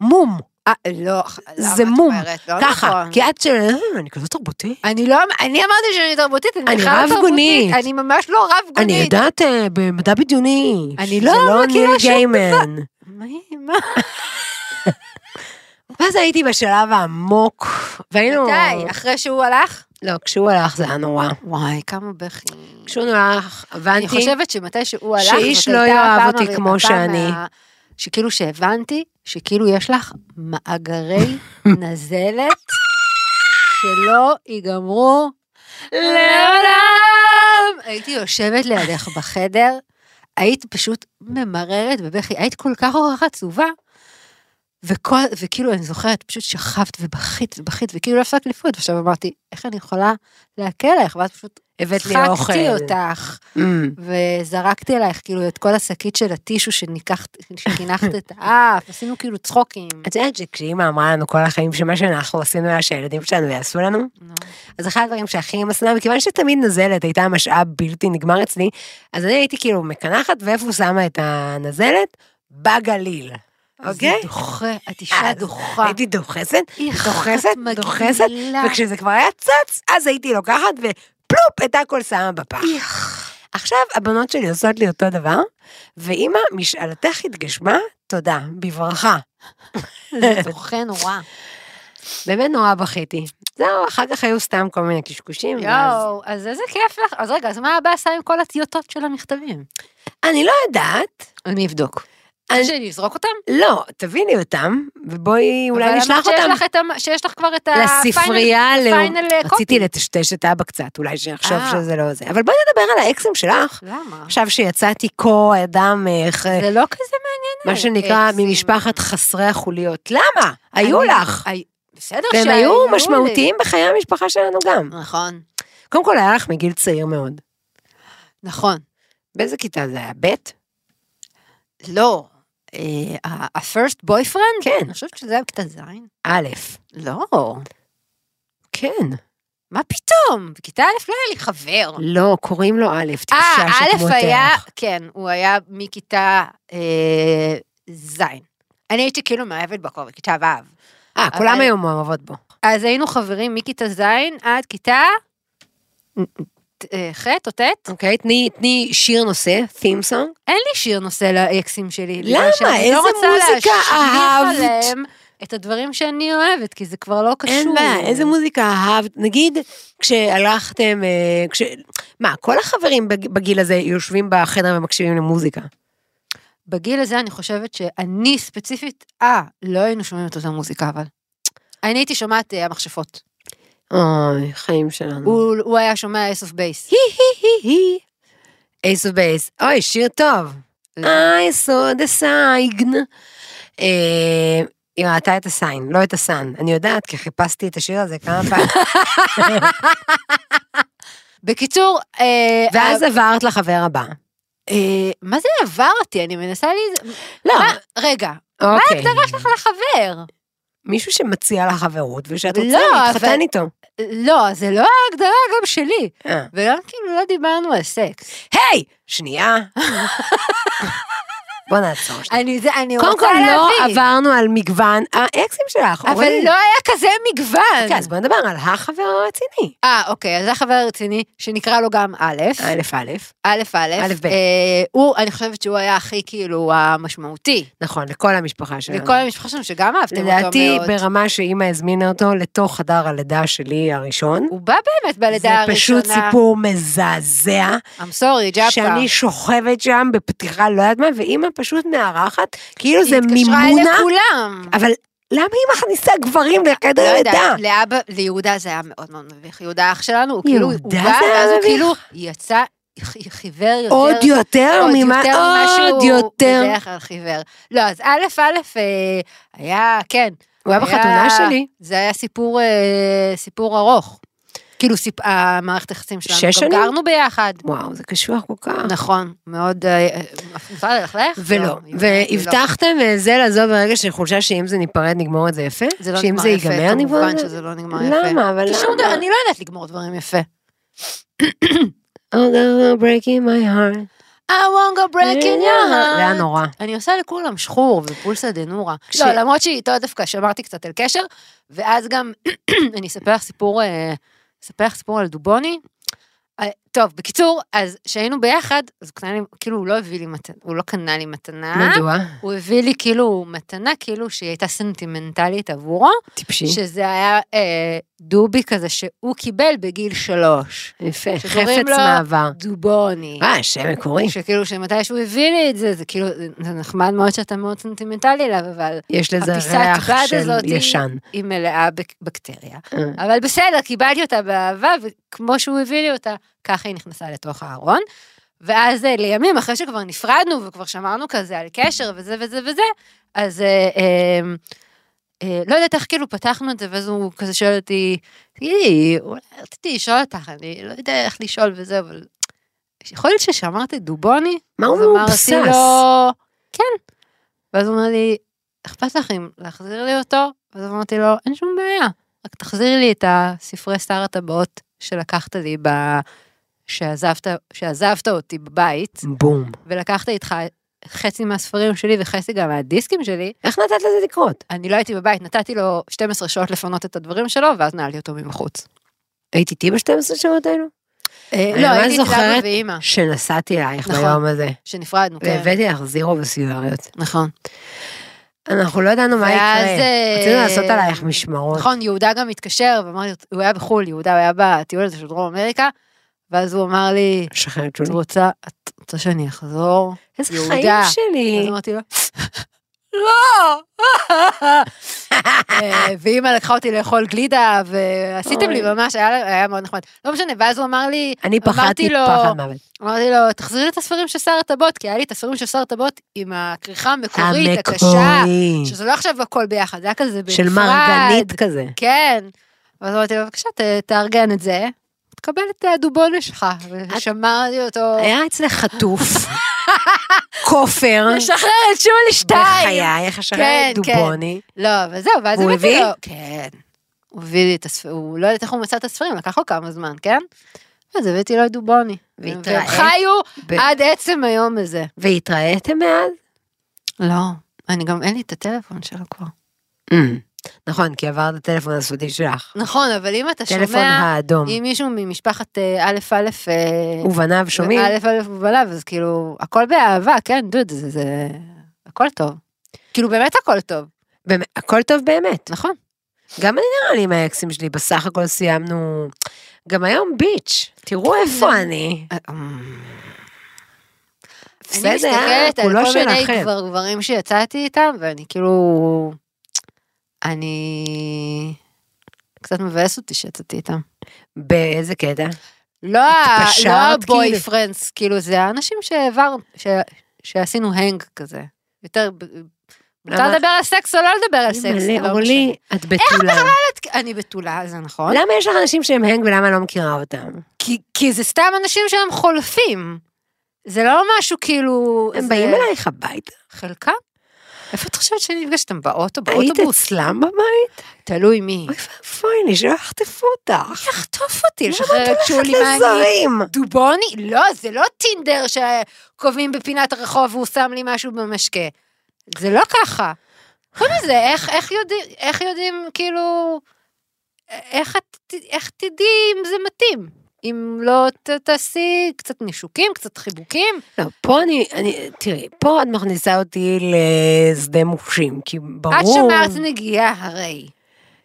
C: מום,
D: אה, לא, למה
C: זה
D: את
C: מום.
D: אומרת? לא
C: ככה.
D: נכון.
C: כי את של... "אה, אני כזאת תרבותית.
D: אני לא, אני אמרתי שאני תרבותית, אני
C: אני
D: בכלל לא
C: רב-גונית.
D: תרבותית, אני ממש לא רב
C: אני
D: גונית.
C: יודעת אה, במדע בדיוני.
D: אני
C: זה
D: לא
C: לא
D: מכירה
C: ניל
D: שום
C: גיימן.
D: מה?
C: ואז הייתי בשלב העמוק, והיינו...
D: מתי? אחרי שהוא הלך?
C: לא, כשהוא הלך זה היה נורא.
D: וואי, כמה בכי.
C: כשהוא הלך, הבנתי.
D: אני חושבת שמתי שהוא הלך,
C: שאיש
D: זאת
C: לא
D: הייתה
C: יאהב
D: הפעם
C: אותי
D: הר-
C: כמו
D: הפעם
C: שאני.
D: ה- שכאילו שהבנתי, שכאילו יש לך מאגרי נזלת שלא ייגמרו לעולם. פעם הייתי יושבת לידך בחדר, היית פשוט ממררת בבכי, היית כל כך כל כך עצובה, וכל, וכאילו, אני זוכרת, פשוט שכבת ובכית ובכית, וכאילו לא הפסקת לבכות, ועכשיו אמרתי, איך אני יכולה להקל עליך? ואז פשוט
E: הבאת לי אוכל.
D: צחקתי אותך,
E: Mm.
D: וזרקתי עלייך כאילו את כל השקית של הטישו שניקחת- שקינחת את האף, עשינו כאילו צחוקים.
C: את יודעת שכשאימא אמרה לנו כל החיים שמה שאנחנו עשינו היה שהילדים שלנו יעשו לנו,
D: נו.
C: אז אחד הדברים שהכי משנאה, מכיוון שתמיד נזלת הייתה משאב בלתי נגמר אצלי, אז אני הייתי כאילו מקנחת, ואיפה שמה את הנזלת? בגליל. אוקיי?
D: זה דוחה, את אישה
C: אז
D: דוחה.
C: הייתי דוחסת,
D: איך
C: דוחסת,
D: את מגעילה.
C: דוחסת,
D: אה.
C: וכשזה כבר היה צץ, אז הייתי לוקחת ופלופ, את הכל שמה בפח.
D: איך.
C: עכשיו הבנות שלי עושות לי אותו דבר, ואימא, משאלתך התגשמה, תודה, בברכה.
D: זה דוחה נורא.
C: באמת נורא בכיתי. זהו, אחר כך היו סתם כל מיני קשקושים, ואז...
D: יואו, אז איזה כיף לך. אז רגע, אז מה הבא עשה עם כל הטיוטות של המכתבים?
C: אני לא יודעת,
D: אני אבדוק.
C: אני-
D: שאני אזרוק אותם?
C: לא, תביאי לי אותם, ובואי אולי
D: אבל
C: נשלח
D: אמרת שיש
C: אותם
D: לך את המ- שיש לך כבר את ה...
C: לספריה
D: final-
C: הלאומית.
D: final אה, copy.
C: רציתי לטשטש את אבא קצת, אולי שנחשוב
D: אה.
C: שזה לא זה. אבל בואי נדבר על האקסים שלך.
D: למה?
C: עכשיו שיצאתי כה אדם, אה, ח-
D: זה לא כזה מעניין.
C: מה
D: עליי,
C: שנקרא,
D: אקסים.
C: ממשפחת חסרי החוליות. למה? היו
D: אני-
C: לך.
D: הי- בסדר
C: והם
D: שהיו
C: היו
D: לי.
C: משמעותיים בחיי המשפחה שלנו גם.
D: נכון.
C: קודם כל, היה לך מגיל צעיר מאוד.
D: נכון.
C: באיזה כיתה זה היה? ב'?
D: לא. אה, ה- ה-first boyfriend?
C: כן.
D: אני חושבת שזה היה בכיתה ז'.
C: א'.
D: לא.
C: כן.
D: מה פתאום? בכיתה א' לא היה לי חבר.
C: לא, קוראים לו א',
D: אה,
C: טיפשה
D: א'
C: שכמותך.
D: היה, כן, הוא היה מכיתה אה, ז'. אני הייתי כאילו מאהבת בקור בכיתה ו'.
C: אה,
D: אבל-
C: כולם היו מאוהבות בו.
D: אז היינו חברים מכיתה ז' עד כיתה אה, ח' או ט'.
C: אוקיי, תני תני שיר נושא, theme song.
D: אין לי שיר נושא לאקסים שלי. בגלל
C: למה?
D: שאני לא
C: איזה
D: רוצה
C: מוזיקה
D: להשליך
C: אהבת?
D: עליהם את הדברים שאני אוהבת, כי זה כבר לא קשור.
C: אין בעיה, איזה מוזיקה אהבת? נגיד, כשהלכתם, אה, כש... מה, כל החברים בג- בגיל הזה יושבים בחדר ומקשיבים למוזיקה.
D: בגיל הזה אני חושבת שאני ספציפית, אה, לא היינו שומעים את אותה מוזיקה, אבל. אני הייתי שומעת אה, המכשפות.
C: Mm. אוי, חיים שלנו.
D: הוא הוא היה שומע אייס אוף בייס.
C: אייס ובייס. אוי, שיר טוב.
D: לא.
C: I saw the sign. אה, היא ראתה את הסיין, לא את הסאן. אני יודעת, כי חיפשתי את השיר הזה כמה פעמים.
D: בקיצור, אה,
C: ואז
D: אה,
C: עברת לחבר הבא.
D: אה, מה זה עברתי? אני מנסה לי...
C: לא,
D: מה, רגע, מה
C: אוקיי.
D: ההגדרה שלך לחבר?
C: מישהו שמציע לך חברות, ושאת רוצה
D: לא,
C: להתחתן
D: אבל-
C: איתו.
D: לא, זה לא ההגדרה גם שלי.
C: אה.
D: וגם כאילו לא דיברנו על סקס.
C: היי! שנייה. בוא נעצור שנייה.
D: אני זה, אני
C: קודם
D: רוצה
C: כל לא
D: להבין.
C: עברנו על מגוון אה, האקסים שלך,
D: אבל
C: אורלי.
D: לא היה כזה מגוון.
C: אוקיי, אז בוא נדבר על החבר הרציני.
D: אה, אוקיי, אז זה חבר רציני, שנקרא לו גם א',
C: א' א',
D: א', א',
C: א', ב'.
D: אה, הוא, אני חושבת שהוא היה הכי כאילו המשמעותי.
C: נכון, לכל המשפחה שלנו.
D: לכל המשפחה שלנו שגם אהבתם אותו מאוד.
C: לדעתי, ברמה שאימא הזמינה אותו לתוך חדר הלידה שלי הראשון.
D: הוא בא באמת
C: זה
D: בלידה הראשונה.
C: פשוט סיפור מזעזע,
D: I'm sorry, ג'אפה.
C: שאני שוכבת שם בפתיחה לא יודעת מה, ואימא פשוט מארחת, כאילו זה
D: היא התקשרה
C: מימונה,
D: לכולם.
C: אבל למה היא מכניסה גברים לחדר
D: לא יודעת,
C: לידה?
D: לאבא, ליהודה זה היה מאוד מאוד מביך. יהודה אח שלנו, הוא כאילו, הוא
C: יהודה
D: בא,
C: זה היה
D: ואז הוא
C: מביך?
D: כאילו יצא, ח- חיוור לא יותר.
C: עוד יותר
D: עוד
C: ממה,
D: יותר ממה
C: עוד
D: שהוא
C: יותר.
D: בדרך כלל חיוור. לא, אז א', א', אה, היה, כן.
C: הוא היה בחתונה שלי.
D: זה היה סיפור, אה, סיפור ארוך. כאילו, סיפ- המערכת היחסים שלנו.
C: שש
D: גם
C: שנים? אה.
D: גרנו ביחד.
C: וואו, זה קשוח כל כך.
D: נכון, מאוד... אה, אה, אפשר ללכלך?
C: ולא,
D: לא, לא.
C: והבטחתם אה, זה לזו ברגע של חולשה שאם זה ניפרד נגמור את זה יפה?
D: זה לא
C: שאם
D: נגמר
C: זה
D: יפה,
C: ייגמר נגמור את
D: כמובן
C: זה?
D: שזה לא נגמר יפה.
C: למה? אבל
D: כי שום דבר,
C: למה?
D: אני לא יודעת לגמור דברים יפה.
C: Oh, they're breaking my heart.
D: I won't go breaking your heart.
C: זה היה נורא.
D: אני עושה לכולם שחור ופולסא דנורא.
C: כש-
D: לא, למרות שאיתו דווקא שמרתי קצת על קשר, ואז גם אני אספר לך סיפור, אה, אספר לך סיפור על דובוני. אה, טוב, בקיצור, אז כשהיינו ביחד, אז הוא קנה לי, כאילו הוא לא הביא לי מתנה, הוא לא קנה לי מתנה.
C: מדוע?
D: הוא הביא לי
C: אוקיי.
D: כאילו מתנה, כאילו שהיא הייתה סנטימנטלית עבורו,
C: טיפשי.
D: שזה היה אה, דובי כזה שהוא קיבל בגיל שלוש.
C: יפה,
D: שקוראים
C: חפץ
D: לו
C: מעבר.
D: דובוני.
C: אה, שם מקורי.
D: שכאילו שמתי שהוא הביא לי את זה, זה כאילו, זה- זה נחמד מאוד שאתה מאוד סנטימנטלי אליו, אבל
C: יש לזה
D: הפיסת
C: ריח
D: בד
C: של
D: הזאת היא-
C: ישן.
D: היא מלאה בק- בקטריה.
C: אה.
D: אבל בסדר, קיבלתי אותה באהבה, וכמו שהוא הביא לי אותה, ככה היא נכנסה לתוך הארון. ואז אה, לימים, אחרי שכבר נפרדנו וכבר שמרנו כזה על קשר וזה וזה וזה, אז אה, אה, אה, לא יודעת איך כאילו פתחנו את זה, ואז הוא כזה שואל אותי, תגידי, אולי רציתי לשאול אותך, אני לא יודע איך לשאול וזה, אבל יכול להיות ששמרת את דובוני?
C: מה הוא
D: אז אמרתי
C: מאובסס?
D: לו, כן. ואז הוא אומר לי, אכפת לך אם להחזיר לי אותו? ואז אמרתי לו, אין שום בעיה, רק תחזיר לי את הספרי שר הטבעות שלקחת לי ב... שעזבת, שעזבת אותי בבית,
C: בום.
D: ולקחת איתך חצי מהספרים שלי וחצי גם מהדיסקים שלי,
C: איך נתת לזה לקרות?
D: אני לא הייתי בבית, נתתי לו 12 שעות לפנות את הדברים שלו, ואז נעלתי אותו מבחוץ.
C: היית איתי ב-12 שעות האלו? אה, אני
D: לא,
C: ממש
D: הייתי אצל אבא
C: זוכרת
D: ואימא,
C: שנסעתי אלייך
D: נכון.
C: ביום הזה.
D: שנפרדנו, כן.
C: והבאתי לך זירו וסיגריות.
D: נכון.
C: אנחנו לא ידענו מה
D: ואז,
C: יקרה.
D: אה,
C: רצינו לעשות עלייך משמרות.
D: נכון, יהודה גם התקשר, ואמר לי, הוא היה בחו"ל, יהודה, הוא היה בטיול הזה של דרום אמריקה, ואז הוא אמר לי,
C: שחררת
D: את
C: שולי.
D: רוצה, את רוצה שאני אחזור?
C: איזה
D: יהודה.
C: חיים
D: אז
C: שלי.
D: אמרתי לו, לא! אה, ואימא לקחה אותי לאכול גלידה, ועשיתם לי
C: אוי.
D: ממש, היה היה מאוד נחמד. לא משנה, ואז הוא אמר לי,
C: אני פחדתי
D: אמרתי לו-
C: פחד מוות.
D: אמרתי לו, תחזיר לי את הספרים של שר הטבעות, כי היה לי את הספרים של שר הטבעות עם הכריכה המקורית, הקשה,
C: המקורי.
D: שזה לא עכשיו הכל ביחד, זה היה כזה בנפרד.
C: של מרגנית כזה.
D: כן. ואז אמרתי לו, בבקשה, ת- תארגן את זה, תקבל את הדובונה שלך. ושמרתי אותו,
C: היה אצלך חטוף, כופר,
D: לשחרר את שולי שתיים.
C: בחייך,
D: כן,
C: שחררת
D: כן.
C: דובוני.
D: לא, אבל זהו, ואז
C: הוא
D: הבאתי
C: הביא?
D: לו, כן. הוא הביא לי את הספרים, הוא לא יודעת איך הוא מצא את הספרים, לקח לו כמה זמן, כן? אז הבאתי לו את דובוני.
C: והתראה?
D: והם חיו
C: ב-
D: עד עצם היום הזה.
C: והתראיתם מאז?
D: לא, אני גם, אין לי את הטלפון שלו כבר. Mm.
C: אמ, נכון, כי עברת הטלפון הסודי שלך.
D: נכון, אבל אם אתה
C: טלפון
D: שומע,
C: האדום.
D: אם מישהו ממשפחת אה, א' א' אה,
C: ובניו שומעים?
D: א' א' ובלב, אז כאילו, הכל באהבה, כן, דוד, זה, זה, הכל טוב. כאילו, באמת הכל טוב,
C: באמת, הכל טוב באמת.
D: נכון.
C: גם אני נראה לי עם האקסים שלי, בסך הכל סיימנו... גם היום ביץ', תראו
D: נכון.
C: איפה אני.
D: אה, אמ, אני
C: בסדר,
D: מסתכלת על
C: הוא לא
D: כל מיני
C: שלכם.
D: גבר- גברים שיצאתי איתם, ואני כאילו, אני, קצת מבאס אותי שיצאתי איתם.
C: באיזה קטע?
D: לא ה-
C: התפשרת,
D: לא
C: כאילו?
D: הבויפרנדס, כאילו, זה האנשים שהעברנו, ש- שעשינו הנג כזה. יותר, ב- מותר
C: למה-
D: לדבר על סקס או לא לדבר על סקס.
C: אימא'לה,
D: לא נכון.
C: אורלי, את בתולה.
D: משנה. אני בתולה, זה נכון.
C: למה יש לך אנשים שהם הנג ולמה אני לא מכירה אותם?
D: כי, כי זה סתם אנשים שהם חולפים. זה לא משהו כאילו...
C: הם
D: זה-
C: באים אלייך הביתה.
D: חלקם? איפה את חושבת שנפגשתם? באוטו?
C: היית
D: באוטובוס?
C: אצלם בבית?
D: תלוי מי.
C: אוי ואבוי לי, שלא יחטפו אותך.
D: תחטוף אותי,
C: למה
D: לשחרר את
C: את הולכת
D: שולי מאני.
C: לזרים?
D: דובוני? לא, זה לא טינדר שקובעים בפינת הרחוב והוא שם לי משהו במשקה. זה לא ככה. חוץ מזה, איך, איך, יודעים, איך יודעים, כאילו, איך, את ת- איך תדעי אם זה מתאים? אם לא ת, תעשי קצת נישוקים, קצת חיבוקים?
C: לא, פה אני, אני, תראי, פה את מכניסה אותי לשדה מוקשים, כי ברור...
D: את שמרת נגיעה הרי.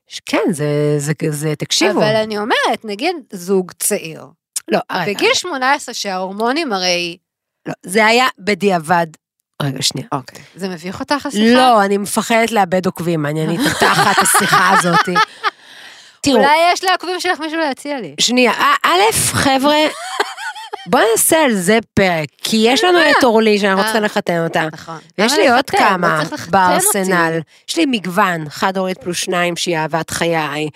C: ש- כן, זה, זה, זה, תקשיבו.
D: אבל אני אומרת, נגיד זוג צעיר.
C: לא, רגע,
D: בגיל 18 שההורמונים הרי...
C: לא, זה היה בדיעבד. רגע, שנייה.
D: אוקיי. זה מביך אותך השיחה?
C: לא, אני מפחדת לאבד עוקבים, אני אני תחת השיחה הזאת. תראו,
D: אולי יש לעקבים שלך מישהו להציע לי.
C: שנייה, א- א', חבר'ה, בואו נעשה על זה פרק, כי יש לנו את אורלי שאנחנו
D: אה.
C: צריכים לחתן אותה.
D: נכון.
C: יש
D: למה
C: לי עוד
D: לחתן? לא
C: כמה
D: צריך לחתן
C: בארסנל.
D: אותי.
C: יש לי מגוון, חד-הורית פלוס שניים שהיא אהבת חיי,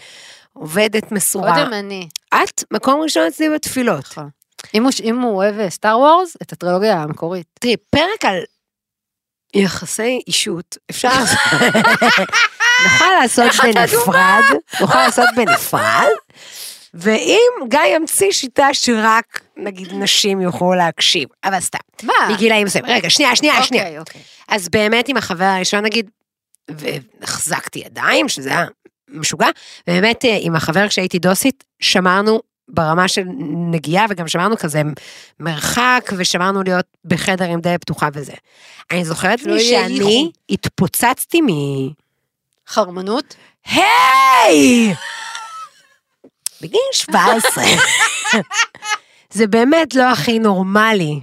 C: עובדת מסורה.
D: קודם אני.
C: את מקום ראשון אצלי בתפילות.
D: נכון. אם הוא- אם הוא אוהב סטאר וורס, את הטרילוגיה המקורית.
C: תראי, פרק על יחסי אישות, אפשר... נוכל לעשות בנפרד, נוכל לעשות בנפרד, ואם גיא ימציא שיטה שרק, נגיד, נשים יוכלו להקשיב, אבל סתם,
D: מה?
C: מגילאים מסוימים. רגע, שנייה, שנייה, שנייה.
D: אה. אוקיי, אוקיי.
C: אז באמת עם החבר הראשון נגיד, והחזקתי ידיים, שזה היה משוגע, ובאמת אה, עם החבר כשהייתי דוסית, שמרנו ברמה של נגיעה, וגם שמרנו כזה מרחק, ושמרנו להיות בחדר עם דלת פתוחה וזה. אני זוכרת
D: שלא
C: לי
D: לא יהיה
C: שאני
D: איחור.
C: התפוצצתי מ...
D: חרמנות?
C: היי! בגיל 17. זה באמת לא הכי נורמלי.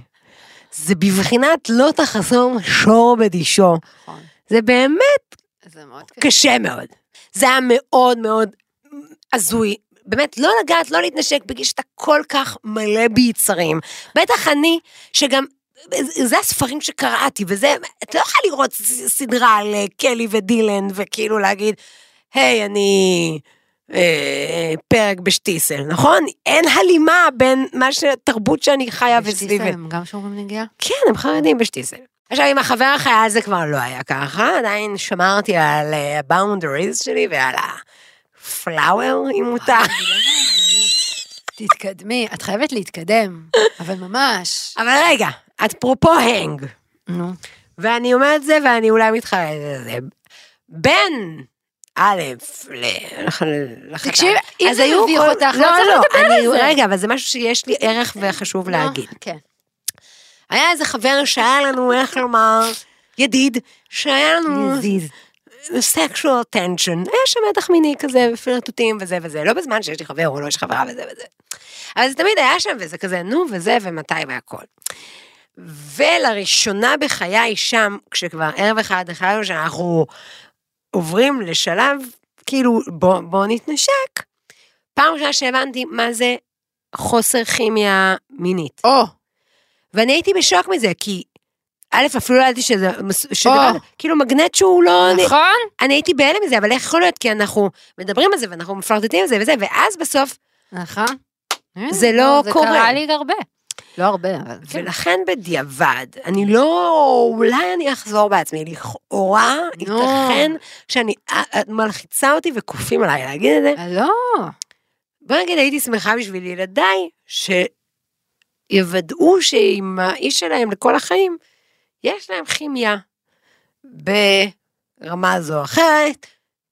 C: זה בבחינת לא תחסום שור בדישו.
D: נכון.
C: זה באמת
D: זה מאוד קשה.
C: קשה מאוד. זה היה מאוד מאוד הזוי. באמת, לא לגעת, לא להתנשק, בגלל שאתה כל כך מלא ביצרים. בטח אני, שגם... זה הספרים שקראתי, וזה, אתה לא יכול לראות ס- סדרה על אה, קלי ודילן, וכאילו להגיד, היי, אני אה, פרק בשטיסל, נכון? אין הלימה בין מה שהתרבות שאני חיה וסביבי.
D: הם גם שומרים נגיעה?
C: כן, הם חרדים בשטיסל. עכשיו, עם החבר החייל זה כבר לא היה ככה, עדיין שמרתי על ה-boundaries שלי ועל הפלאואר, אם מותר.
D: תתקדמי, את חייבת להתקדם, אבל ממש.
C: אבל רגע, את אפרופו הנג,
D: נו.
C: ואני אומרת זה ואני אולי מתחרטת על זה. בין א' ל- לח- לחתן.
D: תקשיב, אם
C: אז
D: זה
C: היו
D: מביך
C: כל-
D: אותך, לא צריך לדבר
C: לא,
D: על
C: אני-
D: זה.
C: רגע, אבל זה משהו שיש לי ערך וחשוב להגיד.
D: כן.
C: היה איזה חבר שהיה לנו, איך לומר, ידיד, שהיה לנו...
D: יזיז.
C: sexual tension, היה שם מתח מיני כזה, ופלרטוטים וזה וזה, לא בזמן שיש לי חבר או לא יש חברה וזה וזה. אבל זה תמיד היה שם, וזה כזה, נו, וזה, ומתי והכל. ולראשונה בחיי שם, כשכבר ערב אחד החלטנו שאנחנו עוברים לשלב, כאילו, בוא, בוא נתנשק. פעם ראשונה שהבנתי מה זה חוסר כימיה מינית.
D: או,
C: ואני הייתי בשוק מזה, כי א', אפילו לא ידעתי שזה, שדבר,
D: או.
C: כאילו מגנט שהוא לא...
D: נכון?
C: אני הייתי בהלם מזה, אבל איך יכול להיות? כי אנחנו מדברים על זה ואנחנו מפלרטטים על זה וזה, ואז בסוף,
D: נכון.
C: זה לא קורה.
D: זה קרה לי הרבה. לא הרבה, אבל כן.
C: ולכן בדיעבד, אני לא, אולי אני אחזור בעצמי, לכאורה,
D: נו.
C: ייתכן שאני, אה, את מלחיצה אותי וכופים עליי להגיד את זה.
D: אה, לא.
C: בוא נגיד, הייתי שמחה בשביל ילדיי, שיוודאו שעם האיש שלהם לכל החיים, יש להם כימיה ברמה זו או אחרת.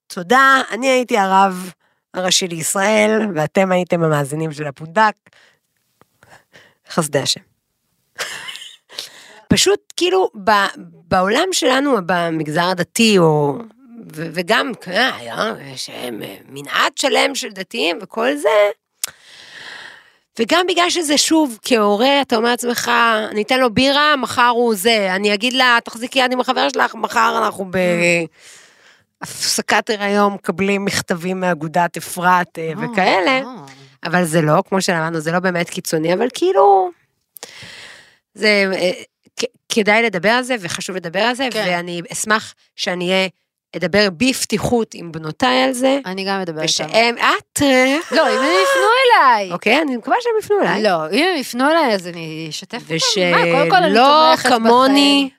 C: תודה, אני הייתי הרב הראשי לישראל, ואתם הייתם המאזינים של הפונדק. חסדי השם. פשוט כאילו ב, בעולם שלנו, במגזר הדתי, או, ו, וגם כן, היה שהם אה, מנעד שלם של דתיים וכל זה, וגם בגלל שזה שוב, כהורה, אתה אומר לעצמך, אני אתן לו בירה, מחר הוא זה, אני אגיד לה, תחזיקי יד עם החבר שלך, מחר אנחנו ב... הפסקת הריון, מקבלים מכתבים מאגודת אפרת אה, וכאלה.
D: אה,
C: אבל זה לא, כמו שלמדנו, זה לא באמת קיצוני, אבל כאילו, זה, אה, כ- כדאי לדבר על זה, וחשוב לדבר על זה,
D: כן.
C: ואני אשמח שאני אה, אדבר בפתיחות עם בנותיי על זה,
D: אני לא גם אדבר איתם.
C: ושהם, את, אה,
D: לא, אם הם יפנו אליי.
C: אוקיי, אני מקווה שהם יפנו אליי,
D: לא, אם הם יפנו אליי, אז אני אשתף אותם. מה, קודם כל אני
C: ושלא
D: תומכת
C: לא כמוני,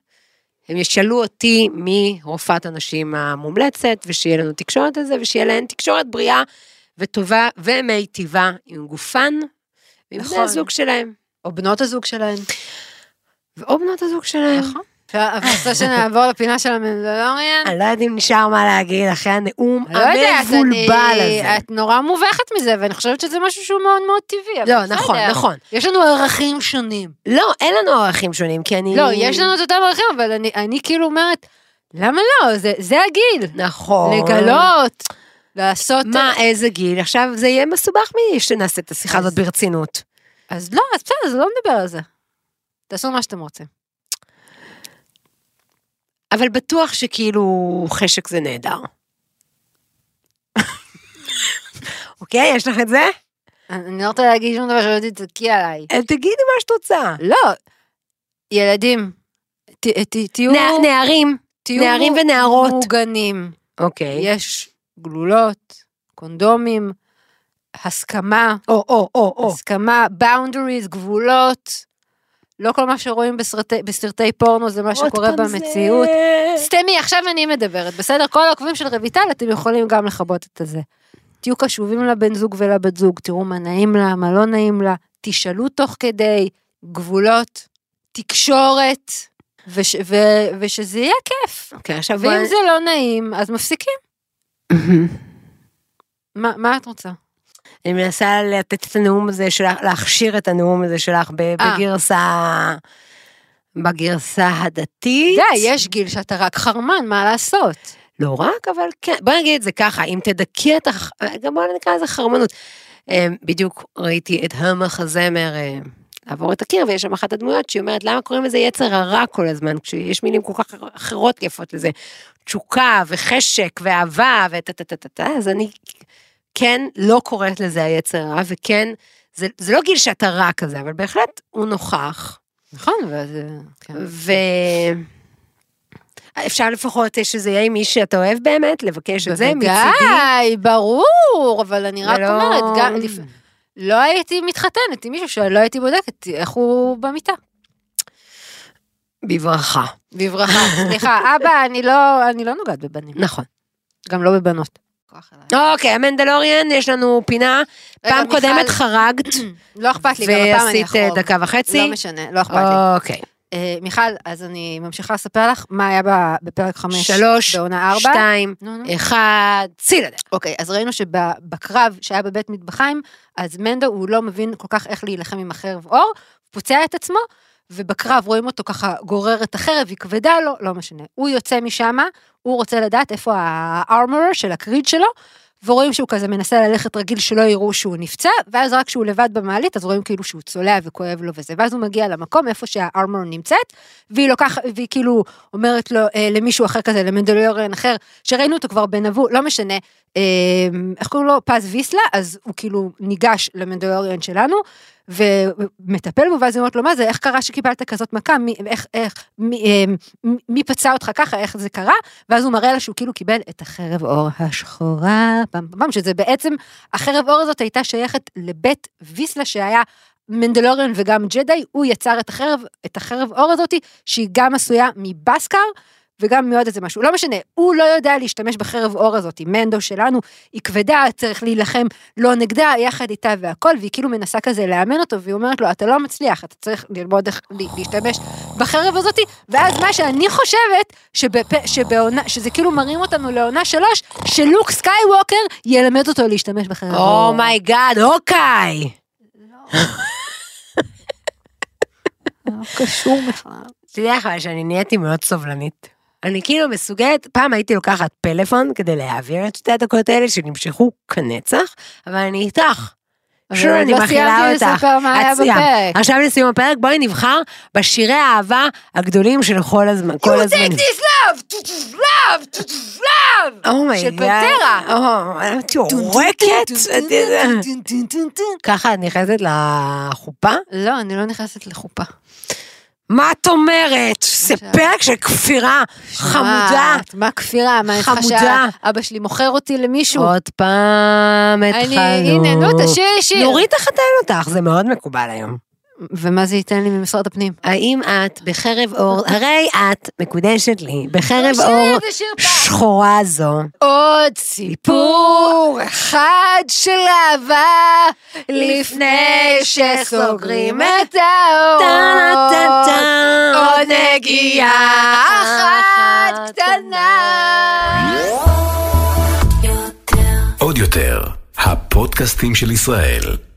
C: הם ישאלו אותי מרופאת הנשים המומלצת, ושיהיה לנו תקשורת על זה, ושיהיה להן תקשורת בריאה וטובה ומיטיבה עם גופן, ועם בני
D: נכון.
C: הזוג שלהם.
D: בחיים. או בנות הזוג שלהן.
C: או בנות הזוג שלהם.
D: נכון. אבל אני רוצה שנעבור לפינה של המנדלוריאן.
C: אני לא יודעת אם נשאר מה להגיד אחרי הנאום
D: לא יודעת,
C: המבולבל
D: אני...
C: הזה.
D: את נורא מובכת מזה, ואני חושבת שזה משהו שהוא מאוד מאוד טבעי. אבל
C: לא,
D: בסדר.
C: נכון, נכון.
D: יש לנו ערכים שונים.
C: לא, אין לנו ערכים שונים, כי אני...
D: לא, יש לנו את אותם ערכים, אבל אני- אני כאילו אומרת, למה לא? זה- זה הגיל.
C: נכון.
D: לגלות, לעשות...
C: מה, איזה גיל? עכשיו זה יהיה מסובך מי שנעשה את השיחה הזאת ברצינות.
D: אז לא, אז בסדר, אז לא נדבר על זה. תעשו מה שאתם רוצים.
C: אבל בטוח שכאילו חשק זה נהדר. אוקיי, יש לך את זה?
D: אני אני לא רוצה להגיד שום דבר שלא תצעקי עליי.
C: אה, תגידי מה שאת רוצה.
D: לא. ילדים, ת- ת- תהיו...
C: נע- נערים.
D: תהיו
C: נערים
D: מ-
C: ונערות.
D: מוגנים.
C: אוקיי.
D: יש גלולות, קונדומים, הסכמה,
C: או, או, או, או.
D: הסכמה, boundaries, גבולות. לא כל מה שרואים בסרטי, בסרטי פורנו זה מה שקורה במציאות. סתמי, עכשיו אני מדברת, בסדר? כל העוקבים של רויטל, אתם יכולים גם לכבות את הזה. תהיו קשובים לבן זוג ולבת זוג, תראו מה נעים לה, מה לא נעים לה, תשאלו תוך כדי, גבולות, תקשורת, וש, ו, ושזה יהיה כיף.
C: אוקיי, עכשיו...
D: ואם זה לא נעים, אז מפסיקים. מה, מה את רוצה?
C: אני מנסה לתת את הנאום הזה שלך, להכשיר את הנאום הזה שלך ב-
D: אה.
C: בגרסה, בגרסה הדתית.
D: די, יש גיל שאתה רק חרמן, מה לעשות?
C: לא רק, אבל כן, בוא נגיד את זה ככה, אם תדכא את הח... גם בוא נקרא לזה חרמנות. אה, בדיוק ראיתי את המחזמר אה, לעבור את הקיר, ויש שם אחת הדמויות שהיא אומרת, למה קוראים לזה יצר הרע כל הזמן, כשיש מילים כל כך אחרות יפות לזה, תשוקה וחשק ואהבה וטה טה טה טה טה, אז אני כן לא קוראת לזה היצר הרע, וכן, זה, זה לא גיל שאתה רע כזה, אבל בהחלט הוא נוכח.
D: נכון, וזה... כן.
C: ואפשר לפחות שזה יהיה עם מי שאתה אוהב באמת, לבקש את זה מצידי.
D: בוודאי, ברור, אבל אני רק
C: ולא-
D: אומרת, גם... לפ- לא הייתי מתחתנת עם מישהו שלא הייתי בודקת איך הוא במיטה.
C: בברכה.
D: בברכה. סליחה, אבא, אני לא, אני לא נוגעת בבנים.
C: נכון.
D: גם לא בבנות.
C: אוקיי, המנדלוריאן, יש לנו פינה.
D: רגע,
C: פעם
D: מיכל-
C: קודמת חרגת,
D: לא אכפת לי, גם הפעם אני
C: ועשית
D: אחרוב.
C: אה, דקה וחצי.
D: לא משנה, לא אכפת לי.
C: אוקיי.
D: אה, מיכל, אז אני ממשיכה לספר לך מה היה ב- בפרק 5
C: שלוש,
D: בעונה 4.
C: שתיים, אחד, צאי לדרך.
D: אוקיי, אז ראינו שבקרב שהיה בבית מטבחיים, אז מנדו הוא לא מבין כל כך איך להילחם עם החרב אור, פוצע את עצמו, ובקרב רואים אותו ככה גורר את החרב, היא כבדה לו, לא משנה. הוא יוצא משם, הוא רוצה לדעת איפה הארמורר של הקריד שלו, ורואים שהוא כזה מנסה ללכת רגיל שלא יראו שהוא נפצע, ואז רק כשהוא לבד במעלית, אז רואים כאילו שהוא צולע וכואב לו וזה, ואז הוא מגיע למקום איפה שהארמור נמצאת, והיא לוקחת, והיא כאילו אומרת לו, אה, למישהו אחר כזה, למנדלוריון אחר, שראינו אותו כבר בנבו, לא משנה, אה, איך קוראים לו? פז ויסלה, אז הוא כאילו ניגש למנדלוריון שלנו, ומטפל בו, ואז היא אומרת לו, מה זה, איך קרה שקיבלת כזאת מכה, מי, איך, איך, מי, אה, מי, מי פצע אותך ככה, איך זה קרה, ואז הוא מראה לה שהוא כאילו קיבל את החרב אור השחורה, פעם פעם, שזה בעצם, החרב אור הזאת הייתה שייכת לבית ויסלה שהיה מנדלוריון וגם ג'די, הוא יצר את החרב, את החרב אור הזאת, שהיא גם עשויה מבסקר. וגם מעוד איזה משהו, לא משנה, הוא לא יודע להשתמש בחרב אור הזאת, מנדו שלנו, היא כבדה, צריך להילחם לא נגדה, יחד איתה והכל, והיא כאילו מנסה כזה לאמן אותו, והיא אומרת לו, אתה לא מצליח, אתה צריך ללמוד איך לה- להשתמש בחרב הזאת, ואז מה שאני חושבת, שבפ... שבעונה, שזה כאילו מרים אותנו לעונה שלוש, שלוק סקייווקר ילמד אותו להשתמש בחרב אור.
C: Oh אומייגאד, אוקיי.
D: לא קשור בכלל.
C: תדעי לך אבל שאני נהייתי מאוד סובלנית. אני כאילו מסוגלת, פעם הייתי לוקחת פלאפון כדי להעביר את שתי הדקות האלה שנמשכו כנצח, אבל אני איתך. שוב,
D: אבל
C: אני
D: עוד לא
C: מכילה
D: סיימתי
C: אותך.
D: לספר מה היה
C: את סיימת.
D: בפרק.
C: עכשיו לסיום הפרק, בואי נבחר בשירי האהבה הגדולים של כל הזמן. כל הזמן. Oh
D: this love, to this love, to this love.
C: אומייגאד.
D: של פנטרה.
C: Oh, את יורקת. ככה את נכנסת לחופה?
D: לא, אני לא נכנסת לחופה.
C: מה את אומרת? זה פרק של כפירה חמודה.
D: שומעת, מה כפירה? מה, אני צריכה
C: חמודה.
D: שאבא שלי מוכר אותי למישהו?
C: עוד פעם התחלנו.
D: אני, הנה, נו, תשאירי שיר.
C: נורית תחתן אותך, זה מאוד מקובל היום.
D: ומה זה ייתן לי ממשרד הפנים?
C: האם את בחרב אור, הרי את מקודשת לי, בחרב
D: שיר,
C: אור
D: זה שיר פעם.
C: שחורה זו.
D: עוד סיפור אחד של אהבה לפני שסוגרים את האור
C: טה-טה-טה.
D: עוד נגיעה אחת קטנה
A: עוד יותר, הפודקאסטים של ישראל.